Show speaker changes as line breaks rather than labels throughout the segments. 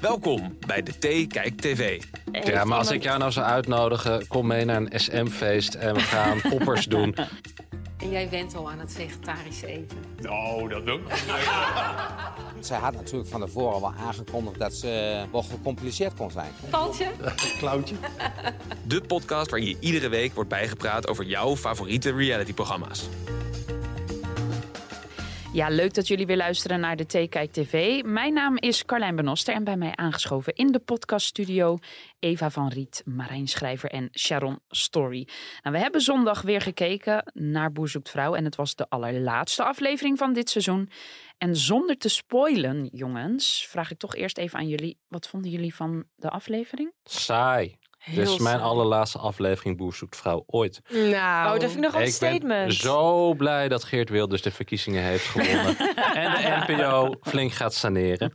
Welkom bij de Thee Kijk TV.
Ja, maar als ik jou nou zou uitnodigen, kom mee naar een SM-feest en we gaan poppers doen.
En jij went al aan het vegetarisch eten.
Oh, dat doe ik.
Zij had natuurlijk van tevoren wel aangekondigd dat ze eh, wel gecompliceerd kon zijn.
Paltje?
De podcast waarin je iedere week wordt bijgepraat over jouw favoriete realityprogramma's.
Ja, leuk dat jullie weer luisteren naar de Theekijk TV. Mijn naam is Carlijn Benoster en bij mij aangeschoven in de podcaststudio Eva van Riet, Marijn Schrijver en Sharon Story. Nou, we hebben zondag weer gekeken naar Boer zoekt vrouw en het was de allerlaatste aflevering van dit seizoen. En zonder te spoilen, jongens, vraag ik toch eerst even aan jullie, wat vonden jullie van de aflevering?
Saai. Dit is mijn allerlaatste aflevering Boer zoekt vrouw ooit.
Nou, oh, dat vind ik nog wel een
ik ben
statement.
zo blij dat Geert Wilders de verkiezingen heeft gewonnen. en de NPO flink gaat saneren.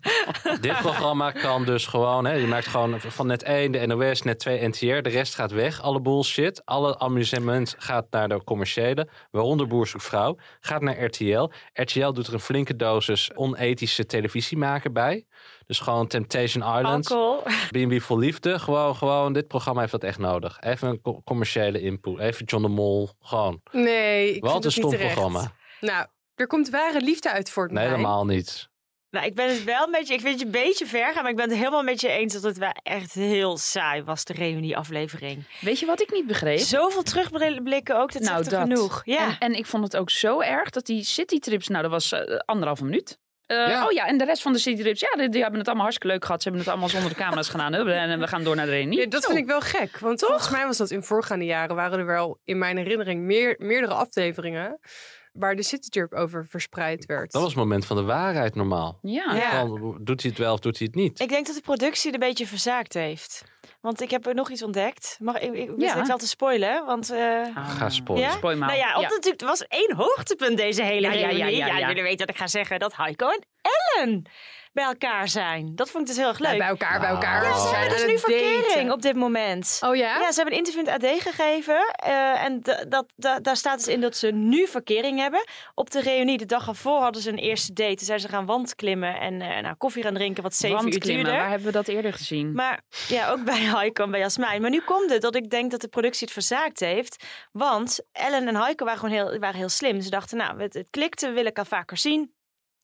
Dit programma kan dus gewoon... Hè, je maakt gewoon van net 1 de NOS, net 2 NTR. De rest gaat weg. Alle bullshit. Alle amusement gaat naar de commerciële. Waaronder Boer zoekt vrouw. Gaat naar RTL. RTL doet er een flinke dosis onethische televisie maken bij. Dus gewoon Temptation Island.
Alcohol.
B&B voor liefde. Gewoon, gewoon, dit programma heeft dat echt nodig. Even een co- commerciële input. Even John de Mol. Gewoon.
Nee, ik
Wat
vind
een
het
stom
niet terecht.
programma.
Nou, er komt ware liefde uit voort.
Nee,
Marijn.
helemaal niet.
Nou, ik ben het wel een beetje, ik vind het een beetje ver gaan, maar ik ben het helemaal met je eens dat het wel echt heel saai was, de reunieaflevering.
Weet je wat ik niet begreep?
Zoveel terugblikken ook, dat
Nou,
zegt er
dat.
genoeg. Ja.
En, en ik vond het ook zo erg dat die citytrips, nou dat was eh, anderhalve minuut. Eh,
Ja.
Oh ja, en de rest van de citytrips, ja, die, die hebben het allemaal hartstikke leuk gehad. Ze hebben het allemaal zonder de camera's gedaan. Hup, En en we gaan door naar de reunie.
Ja, dat vind ik wel gek, want volgens mij was dat in voorgaande jaren waren er wel in mijn herinnering meer, meerdere afleveringen waar de citytrip over verspreid werd.
Dat was het moment van de waarheid normaal.
Ja.
Ja.
Gewoon, doet hij het wel of doet hij het niet?
Ik denk dat de productie het een beetje verzaakt heeft. Want ik heb er nog iets ontdekt. Mag ik, ik,
Ja.
ja. wel te spoilen, want... eh,
Ah.
Ga spoilen.
Ja?
Spoil maar.
Nou ja,
Ja.
want natuurlijk, er was één hoogtepunt deze hele
Ja, ja, ja,
reunie.
ja, ja.
jullie weten dat ik ga zeggen dat Heiko en Ellen bij elkaar zijn. Dat vond ik dus heel erg
Nou,
leuk.
Bij elkaar, bij elkaar.
Ja,
Ja,
Oh.
ze
zijn
hebben dus
aan
nu
het daten.
verkering op dit moment.
Oh ja?
Ja, ze hebben een interview in het AD gegeven. eh, en da- dat, da- daar staat dus in dat ze nu verkering hebben. Op de reunie de dag ervoor hadden ze een eerste date. Toen zijn ze gaan wandklimmen en eh, nou, koffie gaan drinken, wat zeven uur
Wandklimmen,
duurde.
waar hebben we dat eerder gezien?
Maar ja, ook bij Heiko en bij Jasmijn. Maar nu komt het dat ik denk dat de productie het verzaakt heeft. Want Ellen en Heiko waren gewoon heel, waren heel slim. Ze dachten, nou, het, het klikte, we willen elkaar vaker zien.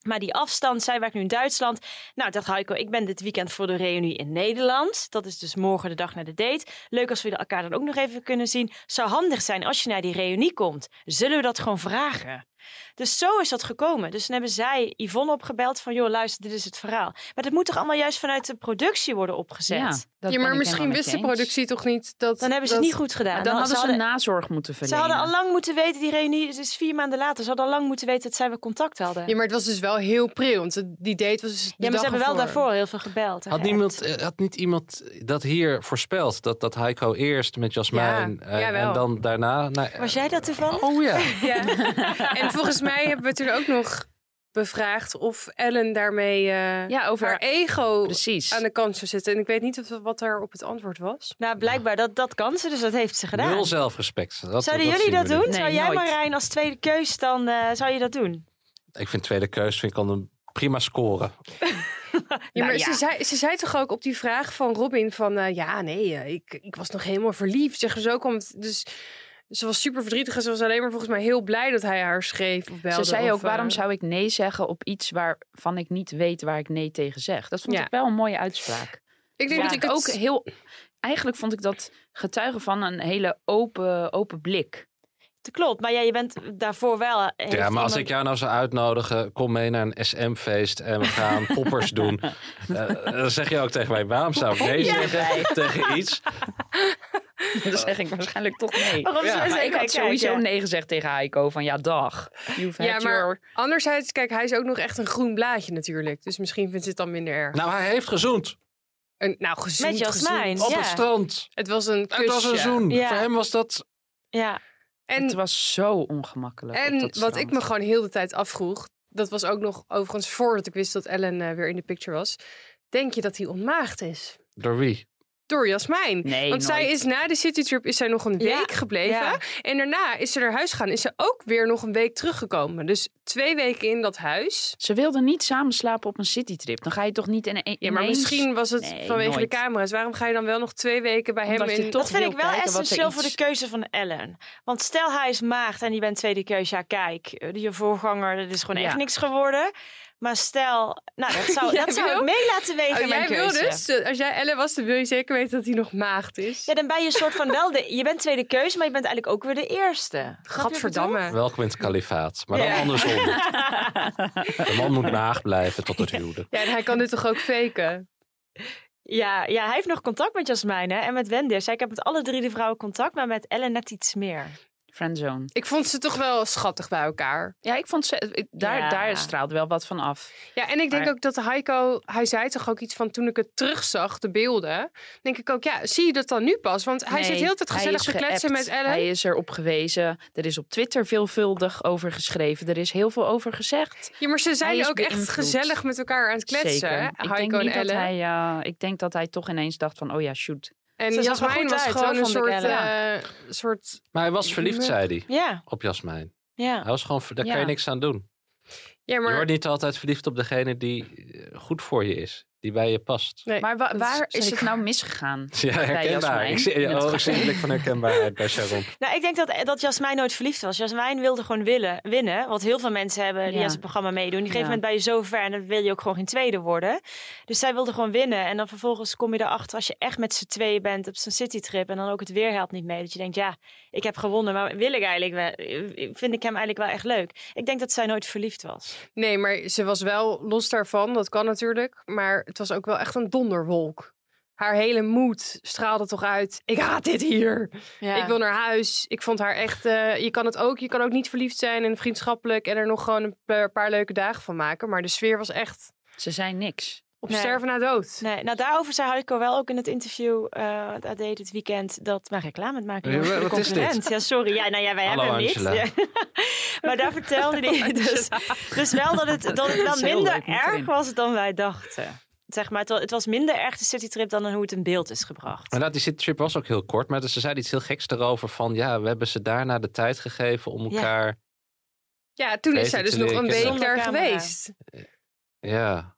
Maar die afstand, zij werkt nu in Duitsland. Nou, dacht Heiko, ik ben dit weekend voor de reunie in Nederland. Dat is dus morgen de dag na de date. Leuk als we elkaar dan ook nog even kunnen zien. Zou handig zijn als je naar die reunie komt. Zullen we dat gewoon
eh,
vragen? Dus zo is dat gekomen. Dus dan hebben zij Yvonne opgebeld van... joh, luister, dit is het verhaal. Maar dat moet toch allemaal juist vanuit de productie worden opgezet?
Ja, dat
Ja,
ben
maar
ik
misschien
helemaal met
wist
je
de
eens.
productie toch niet dat...
Dan hebben ze het
dat-
niet goed gedaan.
Maar dan hadden
ze,
ze een
hadden,
nazorg moeten
ze
verlenen.
hadden al lang moeten weten, die reunie het is dus vier maanden later. Ze hadden al lang moeten weten dat zij weer contact hadden.
Ja,
Ja,
maar het was dus wel heel pril, want het- die date was dus de
maar
dag
ze hebben wel
ervoor.
daarvoor heel veel gebeld. en
Had,
geappt.
niemand, eh, had niet iemand dat hier voorspeld? Dat, dat Heiko eerst met Jasmijn
Ja,
eh,
jawel.
en dan daarna... Nou, eh,
Was jij dat toevallig?
Oh ja.
En volgens mij hebben we toen ook nog bevraagd of Ellen daarmee eh,
Ja, over
haar ego
Precies.
aan de kant zou zitten. En ik weet niet of, wat daar op het antwoord was.
Nou, blijkbaar, dat, dat kan ze, dus dat heeft ze gedaan.
Nul zelfrespect. Dat,
Zouden jullie
zien we
dat doen?
nu.
Nee,
zou jij,
nooit.
Marijn, als tweede keus dan, eh, zou je dat doen?
Ik vind tweede keus vind ik al een prima scoren.
Ja, maar
Nou ja.
Ze, zei, ze zei toch ook op die vraag van Robin van... eh, ja, nee, eh, ik, ik was nog helemaal verliefd. Zeg, zo kwam het. Dus ze was super verdrietig en ze was alleen maar volgens mij heel blij dat hij haar schreef of belde.
Ze zei
of,
ook, waarom
eh,
zou ik nee zeggen op iets waarvan ik niet weet waar ik nee tegen zeg? Dat vond
Ja.
ik wel een mooie uitspraak.
Ik denk
vond
dat
ik
ik
ook
ook...
heel... Eigenlijk vond ik dat getuigen van een hele open, open blik.
Dat klopt, maar ja, je bent daarvoor wel... eh, heeft
Ja, maar als
iemand-
ik jou nou zou uitnodigen, kom mee naar een SM-feest en we gaan poppers doen. Eh, dan zeg je ook tegen mij, waarom zou ik nee zeggen tegen iets?
Dan zeg ik waarschijnlijk toch nee.
Waarom zou ze
Maar ik
Oh, even
had sowieso
kijken?
nee gezegd tegen Heiko van ja, dag. You've
Ja,
had
maar-
your-
Anderzijds, kijk, hij is ook nog echt een groen blaadje natuurlijk. Dus misschien vindt ze het dan minder erg.
Nou, hij heeft gezoend.
Een, nou, gezoend,
Met Jasmijn.
gezoend.
Op
Ja.
het strand.
Het was een kusje.
Het was een zoen.
Ja.
Voor hem was dat...
Ja.
Het
En,
was zo ongemakkelijk. op
en
dat
wat
strand.
ik me gewoon heel de tijd afvroeg... dat was ook nog overigens voordat ik wist dat Ellen eh, weer in de picture was... denk je dat hij ontmaagd is?
Door wie?
Door Jasmijn.
Nee,
Want zij
nooit.
is na de citytrip is zij nog een
Ja,
week gebleven.
ja.
En daarna is ze naar huis gegaan. Is ze ook weer nog een week teruggekomen. Dus twee weken in dat huis.
Ze wilden niet samen slapen op een citytrip. Dan ga je toch niet in een.
Ja, maar misschien was het
Nee,
vanwege
nooit.
de camera's. Waarom ga je dan wel nog twee weken bij hem
Omdat je
in...
toch
Dat vind
wil
ik wel
kijken wat er
essentieel voor
iets-
de keuze van Ellen. Want stel hij is maagd en je bent tweede keuze. Ja, kijk, eh, je voorganger, dat is gewoon
Ja.
echt niks geworden. Maar stel, nou, dat zou,
Jij
dat zou ik
wil?
mee laten wegen.
Oh,
in mijn
jij wil
keuze.
dus, eh, als jij Ellen was, dan wil je zeker weten dat hij nog maagd is.
Ja, dan ben je soort van wel de. Je bent tweede keuze, maar je bent eigenlijk ook weer de eerste. Snap je wat ik
Gadverdamme.
Welkom in het kalifaat. Maar dan
Ja.
andersom. De man moet maag blijven tot het huwelijk.
Ja, en hij kan dit toch ook faken?
bedoel? Ja, ja, hij heeft nog contact met Jasmijn hè, en met Wenders. Ik heb met alle drie de vrouwen contact, maar met Ellen net iets meer.
Friendzone.
Ik vond ze toch wel schattig bij elkaar.
Ja, ik vond ze. ik- Daar,
Ja.
daar straalde wel wat van af.
Ja, en ik denk
Maar-
ook dat Heiko, hij zei toch ook iets van toen ik het terugzag, de beelden. Denk ik ook, ja, zie je dat dan nu pas? Want hij
Nee,
zit heel de tijd
hij
gezellig
is
te kletsen
geappt.
met Ellen.
Hij is erop gewezen. Er is op Twitter veelvuldig over geschreven. Er is heel veel over gezegd.
Ja, maar ze
Hij
zijn
is
ook echt
beïnvloed.
gezellig met elkaar aan het kletsen,
Zeker.
hè?
Ik denk,
Heiko en
niet dat
Ellen.
hij, eh, ik denk dat hij toch ineens dacht van, oh ja, shoot.
En
Ze zag er
Jasmijn
goed
was
uit, hoor,
gewoon een
vond ik
soort,
Ellen.
eh, soort...
Maar hij was verliefd, zei hij.
Ja,
Op Jasmijn.
ja.
Hij was gewoon... ver- Daar kan je
Ja.
niks aan doen.
Ja, maar...
Je wordt niet altijd verliefd op degene die eh, goed voor je is. Die bij je past.
Nee,
Maar wa-
dat
waar is
zeker
het nou misgegaan?
Ja, herkenbaar.
Jasmijn.
Ik zie,
In het
oh, ik
geval.
zie een blik van herkenbaarheid bij Sharon.
Nou, ik denk dat, dat Jasmijn nooit verliefd was. Jasmijn wilde gewoon willen, winnen. Wat heel veel mensen hebben die
Ja.
aan zijn programma meedoen. Die
Ja.
gegeven moment ben je zo ver en dan wil je ook gewoon geen tweede worden. Dus zij wilde gewoon winnen. En dan vervolgens kom je erachter als je echt met z'n tweeën bent op zo'n citytrip. En dan ook het weer helpt niet mee. Dat je denkt, ja, ik heb gewonnen. Maar wil ik eigenlijk wel, eh, vind ik hem eigenlijk wel echt leuk. Ik denk dat zij nooit verliefd was.
Nee, maar ze was wel los daarvan, dat kan natuurlijk. Maar het was ook wel echt een donderwolk. Haar hele moed straalde toch uit. Ik haat dit hier. Ik wil naar huis. Ik vond haar echt. eh, je kan het ook. Je kan ook niet verliefd zijn en vriendschappelijk. En er nog gewoon een paar, paar leuke dagen van maken. Maar de sfeer was echt
Ze zei niks.
op
Nee.
sterven na dood.
Nee, nou daarover zei Heiko wel ook in het interview eh dat hij deed dit weekend dat mijn reclame het maken
Ja,
was voor de
wat is dit?
concurrent. Ja, sorry. Ja, nou ja, wij
Hallo,
hebben hem
Angela.
niet. Ja. maar daar vertelde hij dus, dus wel dat het, dat het wel
is heel
minder
leuk, moet
erg
erin.
was dan wij dachten. Zeg maar, het wa- het was minder erg de citytrip dan hoe het in beeld is gebracht.
Maar nou, die citytrip was ook heel kort. Maar dus ze zeiden iets heel geks erover van... ja, we hebben ze daarna de tijd gegeven om
Ja.
elkaar...
Ja, toen is
Deze Oh,
zij dus
te
nog
leren
een
kennen.
week daar
Zonder camera.
geweest.
Ja,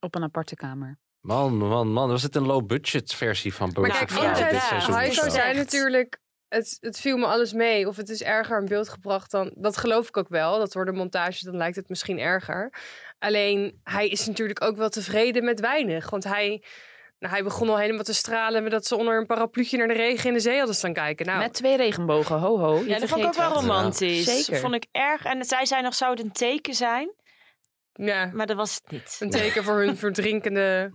Op een aparte kamer.
man, man, man. Was het een low-budget versie van
Maar
Bojack
kijk,
Vrouw
inderdaad,
dit seizoen? of
hij
Heiko
zo?
is
zei
echt.
natuurlijk. Het, het viel me alles mee. Of het is erger in beeld gebracht dan. Dat geloof ik ook wel. Dat door de montage, dan lijkt het misschien erger. Alleen hij is natuurlijk ook wel tevreden met weinig. Want hij, nou, hij begon al helemaal te stralen. Met dat ze onder een parapluutje naar de regen in de zee hadden staan kijken. Nou,
Met twee regenbogen, ho ho. Je
Ja, dat vond ik ook
vergeet
wel
wat.
rom-
romantisch.
Ja.
Dat
Zeker.
vond ik erg. En zij zei nog, zou het een teken zijn?
ja,
Maar dat was het niet.
een teken voor hun verdrinkende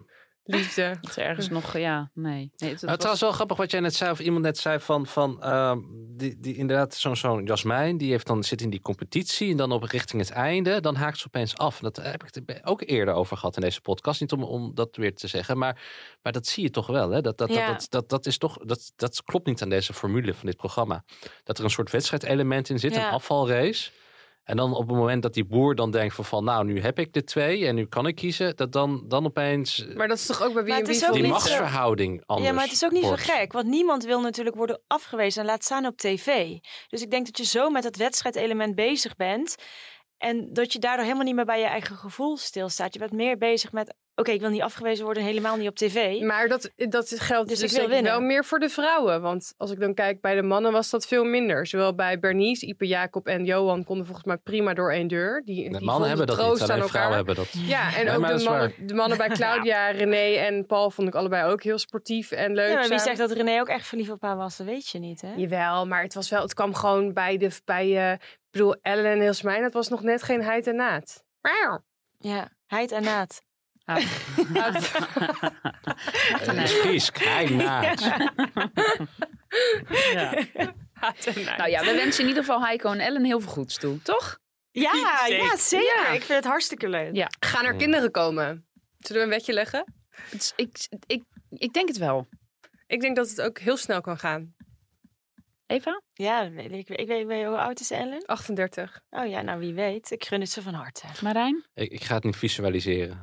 liefde.
Dat er ergens nog, ja, nee. nee het,
Maar
het
Nou, het was wel grappig wat jij net zei, of iemand net zei van, van ehm, die, die inderdaad zo'n zo'n Jasmijn, die heeft dan, zit in die competitie en dan op richting het einde, dan haakt ze opeens af. Dat heb ik het ook eerder over gehad in deze podcast, niet om, om dat weer te zeggen, maar, maar dat zie je toch wel. Hè? Dat, dat,
Ja.
dat, dat, dat, dat is toch, dat, dat klopt niet aan deze formule van dit programma. Dat er een soort wedstrijdelement in zit,
Ja.
een afvalrace. En dan op het moment dat die boer dan denkt van, van nou, nu heb ik de twee en nu kan ik kiezen, dat dan, dan opeens
Maar dat is toch ook bij wie
Maar het
en wie
is ook
die
voor-
niet zo-
machtsverhouding anders
Ja, maar het is ook niet
wordt.
zo gek, want niemand wil natuurlijk worden afgewezen en laat staan op tv. Dus ik denk dat je zo met dat wedstrijdelement bezig bent en dat je daardoor helemaal niet meer bij je eigen gevoel stilstaat. Je bent meer bezig met, oké, ik wil niet afgewezen worden, helemaal niet op tv.
Maar dat, dat geldt
Dus
dus,
ik wil
denk ik wel
winnen.
meer voor de vrouwen. Want als ik dan kijk bij de mannen was dat veel minder. Zowel bij Bernice, Ipe Jacob en Johan konden volgens mij prima door één deur. Die, die
Nee,
vonden
mannen hebben dat niet,
troost
alleen
aan elkaar.
vrouwen hebben dat.
Ja, en
Ja,
ook
maar dat
de,
is
mannen, de mannen bij Claudia, René en Paul vond ik allebei ook heel sportief en leuk.
Ja, maar wie
samen.
zegt dat René ook echt verliefd op haar was, dat weet je niet, hè?
Jawel, maar het, was wel, het kwam gewoon bij, de, bij eh, ik bedoel, Ellen en Hilsmijn. Dat was nog net geen heid en naad. Miauw.
Ja, heid en naad.
Ah.
Het is vies, kijk naad.
Nou ja, we wensen in ieder geval Heiko en Ellen heel veel goeds toe, toch?
Ja, ja, zeker.
Ja.
Ik vind het hartstikke leuk.
Ja.
Gaan er kinderen komen? Zullen we een wetje leggen?
Het is- ik, ik, ik denk het wel.
Ik denk dat het ook heel snel kan gaan.
Eva?
Ja, weet ik, ik weet, weet- hoe oud is Ellen?
38.
Oh ja, nou wie weet. Ik gun het ze van harte.
Marijn?
Ik, ik ga het niet visualiseren.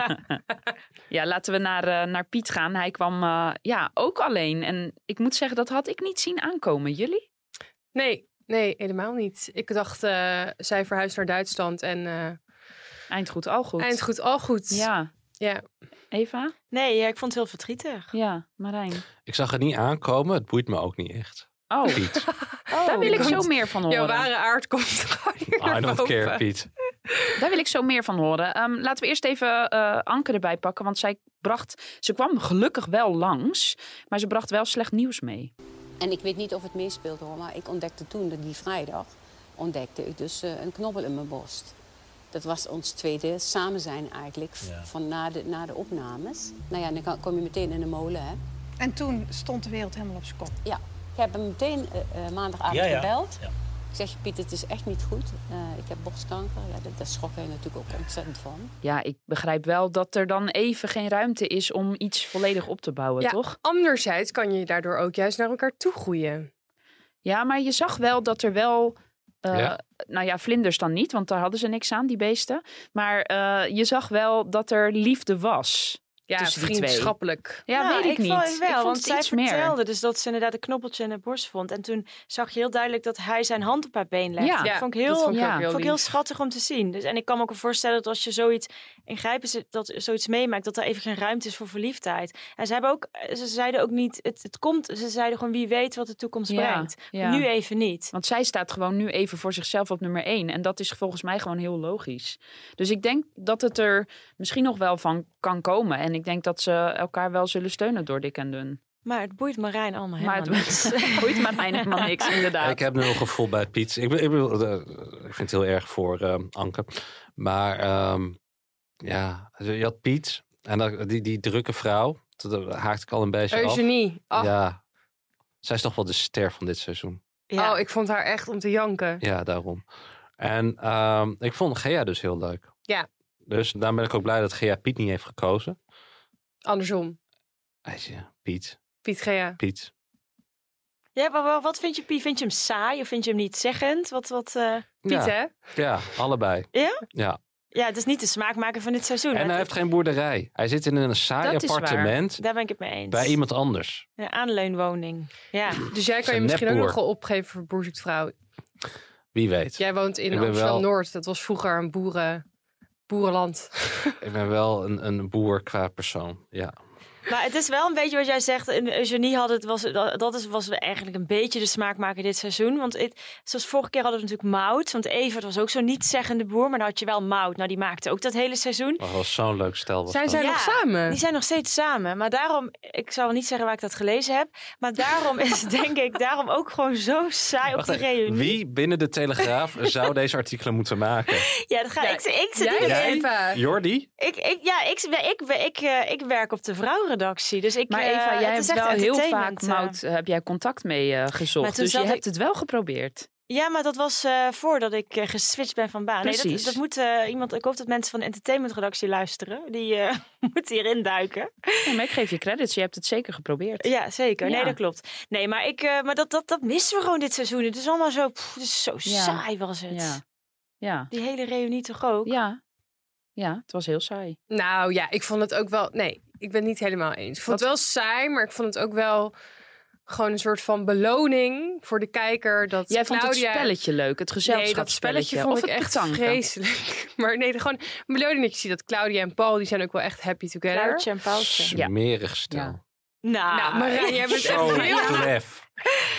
ja, laten we naar, eh, naar Piet gaan. Hij kwam eh, ja, ook alleen. En ik moet zeggen, dat had ik niet zien aankomen. Jullie?
Nee, nee, helemaal niet. Ik dacht, eh, zij verhuist naar Duitsland en eh
Eind goed, al goed.
eind goed, al goed.
Ja.
Ja.
Eva?
Nee, ja, ik vond het heel verdrietig.
Ja, Marijn.
Ik zag het niet aankomen. Het boeit me ook niet echt.
Oh,
Piet.
daar wil ik zo
komt-
meer van
Jouw
horen.
ware aard komt gewoon hier
I
naar
don't
boven.
care, Piet.
Daar wil ik zo meer van horen. Ehm, laten we eerst even eh Anke erbij pakken. Want zij bracht... Ze kwam gelukkig wel langs. Maar ze bracht wel slecht nieuws mee.
En ik weet niet of het meespeelt hoor, maar ik ontdekte toen, dat die vrijdag, ontdekte ik dus eh, een knobbel in mijn borst. Dat was ons tweede samen zijn eigenlijk, v- van na de, na de opnames. Nou ja, dan kan- kom je meteen in de molen hè.
En toen stond de wereld helemaal op zijn kop.
Ja, ik heb hem meteen eh, eh, maandagavond
Ja, ja.
gebeld.
Ja.
Ik zeg, Piet, het is echt niet goed. Eh, ik heb borstkanker. Ja, dat- daar schrok hij natuurlijk ook ontzettend van.
Ja, ik begrijp wel dat er dan even geen ruimte is om iets volledig op te bouwen,
Ja.
toch?
Anderzijds kan je daardoor ook juist naar elkaar toe groeien.
Ja, maar je zag wel dat er wel. eh,
Ja.
Nou ja, vlinders dan niet, want daar hadden ze niks aan, die beesten. Maar eh, je zag wel dat er liefde was.
Ja,
Tussen die twee.
vriendschappelijk.
Ja,
Nou,
weet ik, niet.
Vond het wel,
ik vond
want
het
zij
iets
vertelde
meer.
dus dat ze inderdaad een knobbeltje in haar borst vond. En toen zag je heel duidelijk dat hij zijn hand op haar been legde.
Ja,
dat vond ik heel,
dat vond ik
ja.
ook heel
vond ik
lief.
heel schattig om te zien. Dus, en ik kan me ook voorstellen dat als je zoiets ingrijpends dat zoiets meemaakt, dat er even geen ruimte is voor verliefdheid. En ze hebben ook, ze zeiden ook niet, het, het komt. Ze zeiden gewoon wie weet wat de toekomst
Ja,
brengt.
ja.
Nu even niet.
Want zij staat gewoon nu even voor zichzelf op nummer één. En dat is volgens mij gewoon heel logisch. Dus ik denk dat het er misschien nog wel van kan komen. En ik denk dat ze elkaar wel zullen steunen door dik en dun.
Maar het boeit Marijn allemaal
Maar
helemaal
het
niks.
boeit maar mij helemaal niks, inderdaad.
Ik heb nu een gevoel bij Piet. Ik, be- ik, bedoel, eh, ik vind het heel erg voor ehm, Anke. Maar ehm, ja, je had Piet en dan- die, die drukke vrouw. Dat haakte ik al een beetje
Eugenie.
af.
Ach,
Ja. Zij is toch wel de ster van dit seizoen.
Ja.
Oh, ik vond haar echt om te janken.
Ja, daarom. En ehm, ik vond Gea dus heel leuk.
Ja.
Dus daarom ben ik ook blij dat Gea Piet niet heeft gekozen.
Andersom.
Eitje, Piet,
Piet Gea.
Piet.
Ja, maar wa- wat vind je, Pie? Vind je hem saai of vind je hem niet zeggend? Wat, wat, eh,
Piet,
ja,
hè?
ja, allebei.
Ja?
Ja.
Ja, het is niet de smaakmaker van dit seizoen.
En
hè?
hij heeft geen boerderij. Hij zit in een saai
Dat is waar.
appartement
Daar ben ik het mee eens.
bij iemand anders.
Een aanleunwoning. Ja.
Dus jij kan
Zijn
je misschien ook
nepboer.
nog wel opgeven voor Boer Zoekt Vrouw.
Wie weet.
Jij woont
Ik
in
ben wel-
Amsterdam-Noord. Dat was vroeger een boeren... boerenland.
Ik ben wel een, een boer qua persoon. Ja.
Maar het is wel een beetje wat jij zegt. En Eugenie had het, was, dat dat is, was eigenlijk een beetje de smaakmaker dit seizoen. Want het, zoals vorige keer hadden we natuurlijk Mout. Want Evert was ook zo'n niet-zeggende boer. Maar dan had je wel Mout. Nou, die maakte ook dat hele seizoen.
Maar was zo'n leuk stel. Was
Zijn
dat.
zij nog samen?
Die zijn nog steeds samen. Maar daarom, ik zal niet zeggen waar ik dat gelezen heb. Maar daarom is het, denk ik daarom ook gewoon zo saai op
Wacht
die
even,
reunie.
Wie binnen de Telegraaf zou deze artikelen moeten maken?
Ja, dat ga ik. Ik, ik, zit
Jij,
niet
Jij?
in-
Eva.
Jordi?
Ik, ik, ja, ik, ik, ik, eh, ik werk op de vrouwenredactie. Dus ik,
Maar
eh,
Eva, jij
het is
hebt wel
echt
heel vaak
entertainment, eh.
Mout, heb jij contact mee eh,
Maar
gezocht.
toen
Dus je
zat ik-
hebt het wel geprobeerd.
Ja, maar dat was eh, voordat ik eh, geswitcht ben van baan. Nee,
Precies.
dat, dat moet eh, iemand. Ik hoop dat mensen van de entertainmentredactie luisteren. Die eh, moeten hierin duiken.
Nee, maar ik geef je credits. Je hebt het zeker geprobeerd.
Ja, zeker.
Ja.
Nee, dat klopt. Nee, maar, ik, eh, maar dat, dat, dat missen we gewoon dit seizoen. Het is allemaal zo, pff, het is zo
Ja.
saai was het.
Ja. Ja.
Die hele reunie toch ook?
Ja. Ja, het was heel saai.
Nou ja, ik vond het ook wel... Nee, ik ben het niet helemaal eens. Ik vond het wel saai, maar ik vond het ook wel... Gewoon een soort van beloning voor de kijker. Dat
Jij vond het
Claudia...
spelletje leuk, het
Nee, dat
gezelschapsspelletje.
spelletje vond
of
ik
het
echt
petanken.
vreselijk. Maar nee, gewoon een beloning dat je ziet dat Claudia en Paul... die zijn ook wel echt happy together.
Luidje en pauwtje.
Ja.
Smerig stel.
Ja.
Nou,
Nou, Marijn, jij bent echt
Zo
heel...
klef.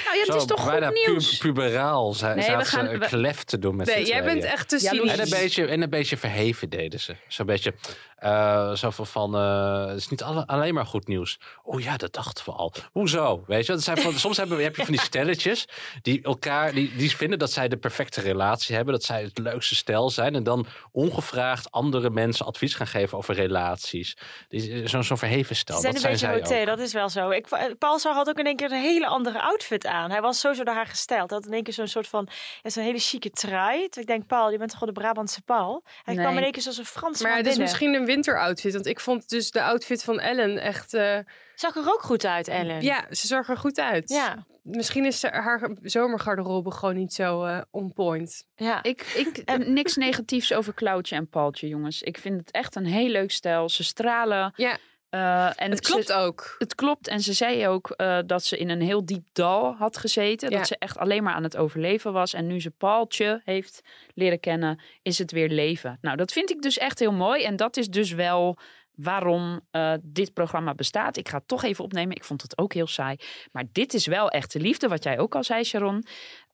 Nou ja, het is
Zo
toch
bijna
goed nieuws.
pu- puberaal za
Nee, we
zaten
gaan-
ze
we-
een klef te doen met
Nee,
z'n
jij
tweeën.
bent echt te
Ja,
cynisch.
En een, beetje, en een beetje verheven deden ze. Zo'n beetje eh zo van, van eh, het is niet alle- alleen maar goed nieuws. Oh ja, dat dachten we al. Hoezo? Weet je, dat zijn van, soms hebben, we- heb je van die stelletjes die elkaar, die, die vinden dat zij de perfecte relatie hebben, dat zij het leukste stel zijn en dan ongevraagd andere mensen advies gaan geven over relaties. Die- Zo'n zo'n verheven stel.
Ze zijn
Nou, dat
een beetje
zijn zij ook.
hotel, dat is wel zo. Ik, eh, Paul Sar had ook in één keer een hele andere outfit aan. Hij was sowieso door haar gestyled. Hij had in één keer zo'n soort van, ja, zo'n hele chique trui. Toen ik denk, Paul, je bent toch gewoon de Brabantse Paul? Hij
Nee. dus
kwam in één keer zoals een Frans
Maar het is
binnen.
misschien een winteroutfit. Want ik vond dus de outfit van Ellen echt... eh,
Zag er ook goed uit, Ellen.
ja, ze zag er goed uit.
Ja.
Misschien is ze- haar zomergarderobe gewoon niet zo eh, on point.
ja.
Ik, ik heb niks negatiefs over Klauwtje en Paltje, jongens. Ik vind het echt een heel leuk stijl. Ze stralen.
Ja,
eh, en
het
ze-
klopt ook.
Het klopt. En ze zei ook eh, dat ze in een heel diep dal had gezeten.
Ja.
Dat ze echt alleen maar aan het overleven was. En nu ze Paaltje heeft leren kennen, is het weer leven. Nou, dat vind ik dus echt heel mooi. En dat is dus wel waarom eh, dit programma bestaat. Ik ga het toch even opnemen. Ik vond het ook heel saai. Maar dit is wel echte liefde, wat jij ook al zei, Sharon.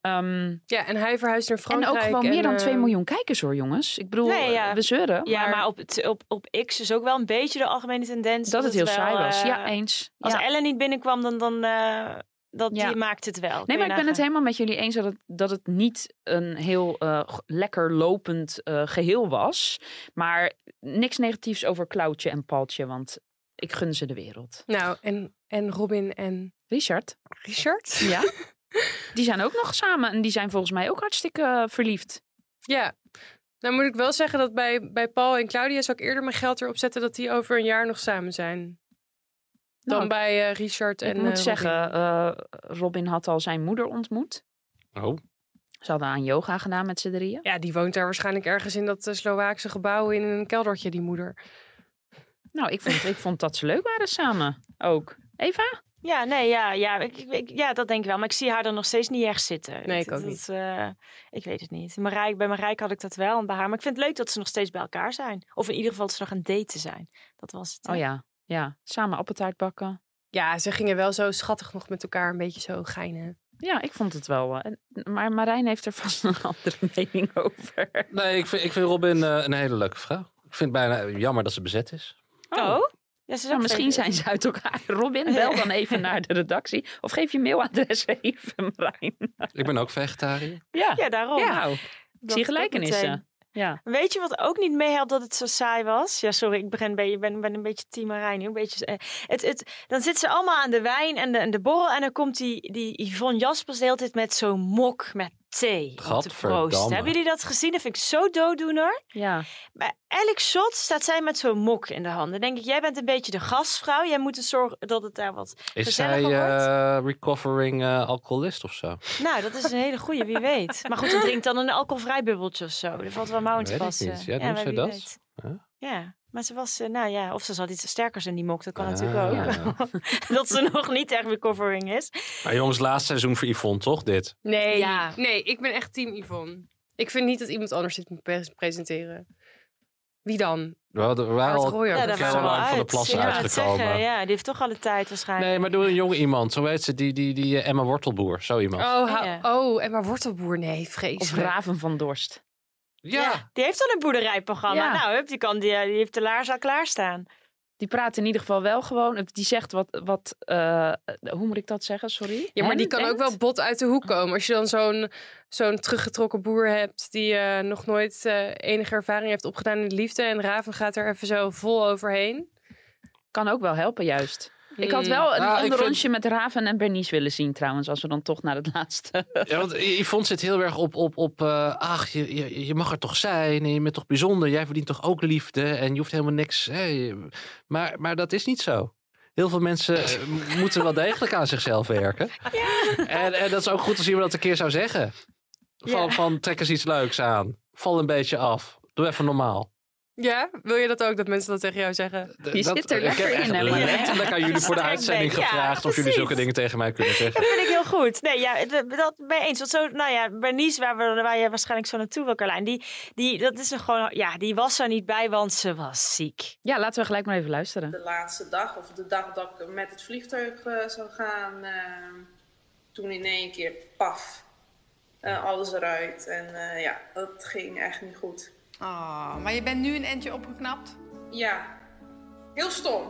Ehm,
Ja, en hij verhuist naar
en
Frankrijk.
ook gewoon meer dan
eh,
2 miljoen kijkers hoor, jongens. Ik bedoel,
Nee, ja.
we zeuren.
Ja, maar,
maar
op, het- op, op X is ook wel een beetje de algemene tendens.
dat het heel
wel,
saai was.
eh,
Ja, eens.
Als
Ja.
Ellen niet binnenkwam, dan, dan eh, dat,
Ja.
die maakt het wel. Kun
Nee,
je
maar ik ben het
nagaan.
helemaal met jullie eens dat het, dat het niet een heel eh, g- lekker lopend eh, geheel was. Maar niks negatiefs over Klauwtje en Paltje, want ik gun ze de wereld.
Nou, en, en Robin en
Richard,
Richard?
ja? die zijn ook nog samen en die zijn volgens mij ook hartstikke eh, verliefd.
Ja. Nou moet ik wel zeggen dat bij, bij Paul en Claudia zou ik eerder mijn geld erop zetten dat die over een jaar nog samen zijn. Dan
Nou,
bij eh, Richard en
ik
eh,
moet
Robin.
zeggen, eh, Robin had al zijn moeder ontmoet.
Oh,
Ze hadden aan yoga gedaan met z'n drieën.
Ja, die woont daar waarschijnlijk ergens in dat eh, Slovaakse gebouw in een keldertje, die moeder.
Nou, ik vond, ik vond dat ze leuk waren samen ook. Eva?
Ja, nee, ja, ja, ik, ik- ik- ja, dat denk ik wel. Maar ik zie haar er nog steeds niet echt zitten.
Nee, ik
Dat-
ook
dat,
niet.
eh, ik weet het niet. Marijk, bij Marijk had ik dat wel en bij haar. Maar ik vind het leuk dat ze nog steeds bij elkaar zijn. Of in ieder geval dat ze nog aan het daten zijn. Dat was het. hè?
Oh ja, ja. Samen appeltaart bakken.
Ja, ze gingen wel zo schattig nog met elkaar een beetje zo geinen.
Ja, ik vond het wel. eh, en- Maar Marijn heeft er vast een andere mening over.
Nee, ik vind, ik vind Robin eh, een hele leuke vrouw. Ik vind het bijna jammer dat ze bezet is.
Oh? Ja, ze is
Nou,
ook
misschien zijn
vreemd.
ze uit elkaar. Robin, bel dan even naar de redactie. Of geef je mailadres even, Marijn.
Ik ben ook vegetariër.
Ja,
Ja, Oh, daarom.
ja. Nou, ik
Dat
zie
ook meteen.
gelijkenissen. Ja.
Weet je wat ook niet meehelpt dat het zo saai was? Ja, sorry, ik begin bij, ben, ben een beetje Team Marijn. nu, Een beetje, eh, het, het, dan zitten ze allemaal aan de wijn en de, en de borrel. En dan komt die, die Yvonne Jaspers de hele tijd met zo'n mok met thee. om te
Gadverdamme.
proosten. Hebben jullie dat gezien? Dat vind ik zo dooddoener.
ja.
Bij elk shot staat zij met zo'n mok in de hand. Dan denk ik, jij bent een beetje de gastvrouw. Jij moet dus zorgen dat het daar wat
Is zij
gezelliger wordt.
eh, recovering eh, alcoholist of zo?
Nou, dat is een hele goeie, wie weet. Maar goed, ze drinkt dan een alcoholvrij bubbeltje of zo. Dat valt wel mouw aan te
Weet ik
passen.
niet. Ja, doen
maar
ze
wie
dat?
weet.
Ja.
Ja, maar ze was, eh, nou ja, of ze zat iets sterkers in die mok. Dat kan
Ah.
natuurlijk ook. dat ze nog niet echt recovering is.
Maar jongens, laatste seizoen voor Yvonne, toch dit?
Nee,
Ja.
nee, ik ben echt team Yvonne. Ik vind niet dat iemand anders dit moet pres- presenteren. Wie dan?
We hadden- we waren
Bart
al...
Gooyer.
Ja, Nou, daar
Caroline
waren we al
van der
uit.
Plas
Ik wou het
uitgekomen.
zeggen, Ja, die heeft toch alle tijd waarschijnlijk.
Nee, maar doe een jong iemand. Zo heet ze, die, die, die eh, Emma Wortelboer. Zo iemand.
Oh, hou-
Ja.
oh, en maar wortelboer? Nee,
Of
vreselijk.
Raven van Dorst.
ja.
Die heeft dan een boerderijprogramma.
Ja.
Nou, hup, die, kan, die, eh, die heeft de laars al klaarstaan.
Die praat in ieder geval wel gewoon. Die zegt wat... wat eh, hoe moet ik dat zeggen? Sorry.
Ja, maar die
Hen-
kan ook
hend?
wel bot uit de hoek komen. Als je dan zo'n zo'n teruggetrokken boer hebt die eh, nog nooit eh, enige ervaring heeft opgedaan in de liefde. En Raven gaat er even zo vol overheen.
Kan ook wel helpen, juist. Ik had
Hmm.
wel een
Nou, ik
ander
vind-
rondje met Raven en Bernice willen zien trouwens. Als we dan toch naar het laatste...
Ja, want I- Yvonne zit heel erg op, op, op eh, ach, je, je, je mag er toch zijn en je bent toch bijzonder. Jij verdient toch ook liefde en je hoeft helemaal niks. Hè? Je- Maar, maar dat is niet zo. Heel veel mensen eh, m- moeten wel degelijk aan zichzelf werken. En, en dat is ook goed als iemand dat een keer zou zeggen. Van, van trek eens iets leuks aan. Val een beetje af. Doe even normaal.
Ja, wil je dat ook, dat mensen dat tegen jou zeggen?
D-
Je zit er
ik heb
lekker
echt
in, hè, Marijn?
letterlijk aan jullie voor de
Trek
uitzending
mee. Ja,
gevraagd of jullie
precies.
zulke dingen tegen mij kunnen zeggen.
vind ik heel goed. Nee, ja, d- dat ben je eens. Want zo, nou ja, Bernice, waar, we, waar je waarschijnlijk zo naartoe wil, Carlijn, die, die, dat is er gewoon, ja, die was er niet bij, want ze was ziek.
Ja, laten we gelijk maar even luisteren.
de laatste dag of de dag dat ik met het vliegtuig eh, zou gaan. eh, toen in één keer, paf, eh, alles eruit. En eh, ja, dat ging echt niet goed.
Ah, maar je bent nu een eindje opgeknapt?
Ja, heel stom.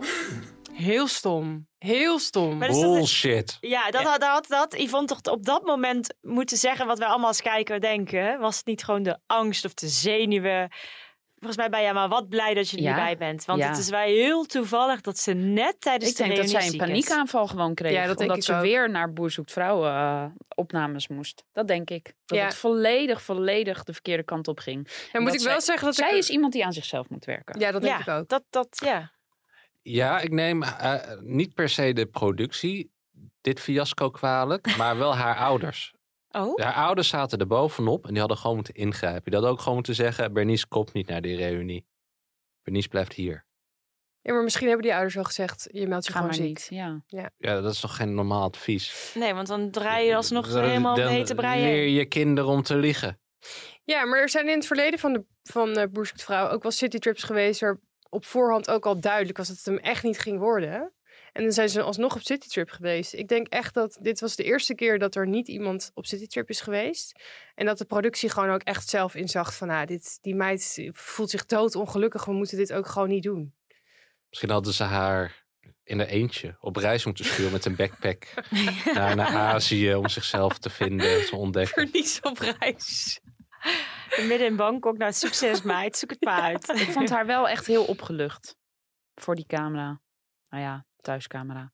Heel stom. Heel stom.
Maar dus dat is- Ja, dat had, dat had dat Yvonne toch op dat moment moeten zeggen wat wij allemaal als kijker denken. Was het niet gewoon de angst of de zenuwen? Volgens mij ben jij maar wat blij dat je er
Ja,
niet bij bent. Want
ja.
het is wij heel toevallig dat ze net tijdens
ik
de
denk dat zij een
reunie ziek Dus is.
paniekaanval gewoon kreeg.
Ja, dat denk
omdat
ik
ze
ook.
weer naar Boer zoekt vrouwen eh, opnames moest. Dat denk ik. Dat
Ja.
het volledig, volledig de verkeerde kant op ging. En
moet ik wel
zij-
zeggen dat
zij
ik-
is iemand die aan zichzelf moet werken.
Ja, dat denk ik ook.
Dat, dat, ja.
Ja, ik neem eh, niet per se de productie, dit fiasco kwalijk, maar wel haar ouders.
Oh?
Haar ouders zaten er bovenop en die hadden gewoon moeten ingrijpen. Die hadden ook gewoon moeten zeggen, Bernice komt niet naar die reunie. Bernice blijft hier.
Ja, maar misschien hebben die ouders wel gezegd, je meldt je
Ga
gewoon
maar
ziek.
niet. Ja.
Ja.
Ja, dat is toch geen normaal advies?
Nee, want dan draai je alsnog
Dan-
helemaal op de
dan
hete brei heen.
leer je kinderen om te liegen.
Ja, maar er zijn in het verleden van, de, van eh, Boer zoekt vrouw ook wel citytrips geweest... waar op voorhand ook al duidelijk was dat het hem echt niet ging worden. En dan zijn ze alsnog op citytrip geweest. Ik denk echt dat dit was de eerste keer dat er niet iemand op citytrip is geweest. En dat de productie gewoon ook echt zelf inzag van... Ah, dit, die meid voelt zich dood ongelukkig, we moeten dit ook gewoon niet doen.
Misschien hadden ze haar in haar eentje op reis moeten sturen met een backpack naar, naar Azië om zichzelf te vinden, te ontdekken.
Verlies op reis. Midden in Bangkok, nou succes meid, zoek het maar uit.
Ik vond haar wel echt heel opgelucht. Voor die camera. Nou ja, thuiscamera.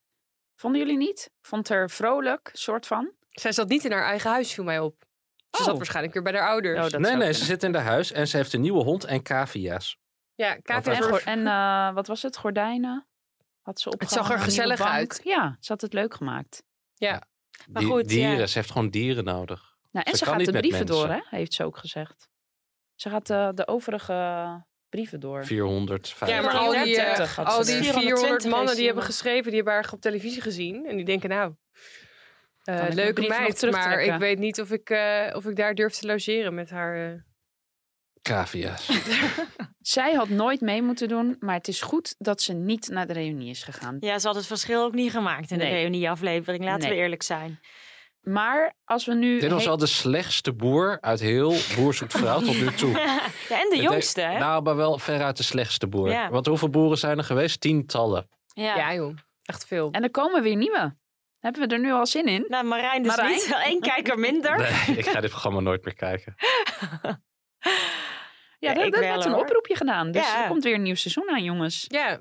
Vonden jullie niet? Vond haar vrolijk, soort van?
Zij zat niet in haar eigen huis, viel mij op. Ze
Oh.
zat waarschijnlijk weer bij haar
Nou,
ouders.
nee, nee, ze zit in haar huis en ze heeft een nieuwe hond en cavia's.
Ja,
Want
en,
dat-
gor- en eh, wat was het? Gordijnen? Had ze
zag er
opgehangen, een nieuwe
gezellig
bank.
uit.
Ja, ze had het leuk gemaakt.
Ja.
Maar
Die-
goed,
dieren,
ja.
ze heeft gewoon dieren nodig.
Nou, en ze,
kan
gaat
niet
de
met
brieven door, hè?
mensen.
heeft ze ook gezegd. Ze gaat eh, de overige brieven door.
400,
Ja, maar al die, eh,
430 had ze
al
er.
die 400
420
mannen
heeft
die
ze
hebben
nog.
geschreven, die hebben haar op televisie gezien. En die denken nou, eh,
Kan ik mijn
leuke
brief nog
meid, maar
terugtrekken?
ik weet niet of ik, eh, of ik daar durf te logeren met haar. eh.
Cavia's.
Zij had nooit mee moeten doen, maar het is goed dat ze niet naar de reunie is gegaan.
Ja, ze had het verschil ook niet gemaakt in de
Nee.
reunieaflevering, laten we
Nee.
eerlijk zijn.
Maar als we nu...
Dit was
he-
wel de slechtste boer uit heel Boer zoekt vrouw tot nu toe.
Ja, en de
Ik
jongste,
denk-
hè?
Nou, maar wel veruit de slechtste boer.
Ja.
Want hoeveel boeren zijn er geweest? Tientallen.
Ja.
joh. Echt veel.
En er komen weer nieuwe. Hebben we er nu al zin in?
Nou, Marijn dus
Marijn?
niet. Wel één kijker minder.
Nee, ik ga dit programma nooit meer kijken.
Oh, Ja,
Ja,
dat
ik
dat
wel,
werd een
hoor.
oproepje gedaan. Dus
Ja.
er komt weer een nieuw seizoen aan, jongens.
Ja.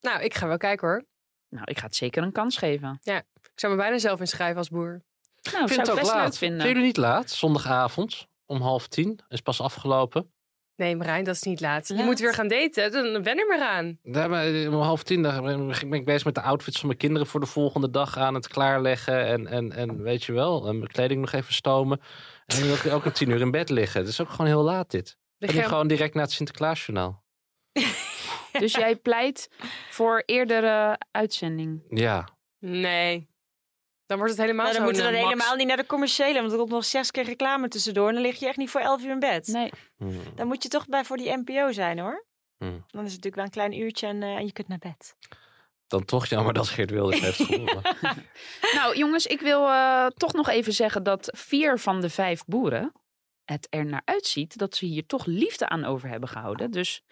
Nou, ik ga wel kijken hoor.
Nou, ik ga het zeker een kans geven.
Ja, ik zou me bijna zelf inschrijven als boer.
Nou,
Ik
zou
vind
ik
het ook
best leuk
laat.
vinden.
Zijn jullie niet laat? Zondagavond om half tien. Is pas afgelopen.
Nee, Marijn, dat is niet laat. Je moet weer gaan daten, dan wen er maar aan.
Daar ben ik- eh, om half tien daar ben ik ben ik bezig met de outfits van mijn kinderen voor de volgende dag aan het klaarleggen. En, en, en weet je wel, en mijn kleding nog even stomen. En dan wil ik ook om tien uur in bed liggen. Het is ook gewoon heel laat dit.
De
En nu
gem-
gewoon direct na het Sinterklaasjournaal.
Dus jij pleit voor eerdere uitzending.
Ja.
Nee. Dan wordt het helemaal
Maar dan
zo'n,
moeten we
eh,
dan
Max.
helemaal niet naar de commerciële, want er komt nog zes keer reclame tussendoor. En dan lig je echt niet voor elf uur in bed.
Nee.
Dan moet je toch bij voor die NPO zijn hoor.
Hmm.
Dan is het natuurlijk wel een klein uurtje en, eh, en je kunt naar bed.
Dan toch jammer dat Geert Wilders heeft gewonnen.
Nou, jongens, ik wil eh, toch nog even zeggen dat vier van de vijf boeren het er naar uitziet dat ze hier toch liefde aan over hebben gehouden. Dus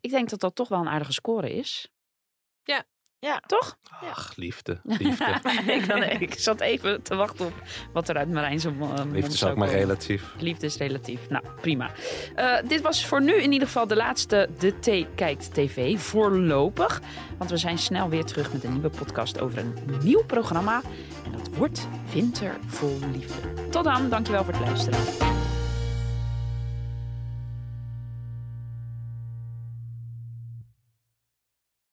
ik denk dat dat toch wel een aardige score is.
Ja.
Ja.
Toch?
Ach, liefde. Liefde.
ik, dan, ik zat even te wachten op wat er uit Marijn's mo- eh, mond
Liefde is
zou
ook maar
komen.
relatief.
Liefde is relatief. Nou, prima. Eh, dit was voor nu in ieder geval de laatste De Thee Kijkt TV. Voorlopig. Want we zijn snel weer terug met een nieuwe podcast over een nieuw programma. En dat wordt Winter vol Liefde. Tot dan. Dankjewel voor het luisteren.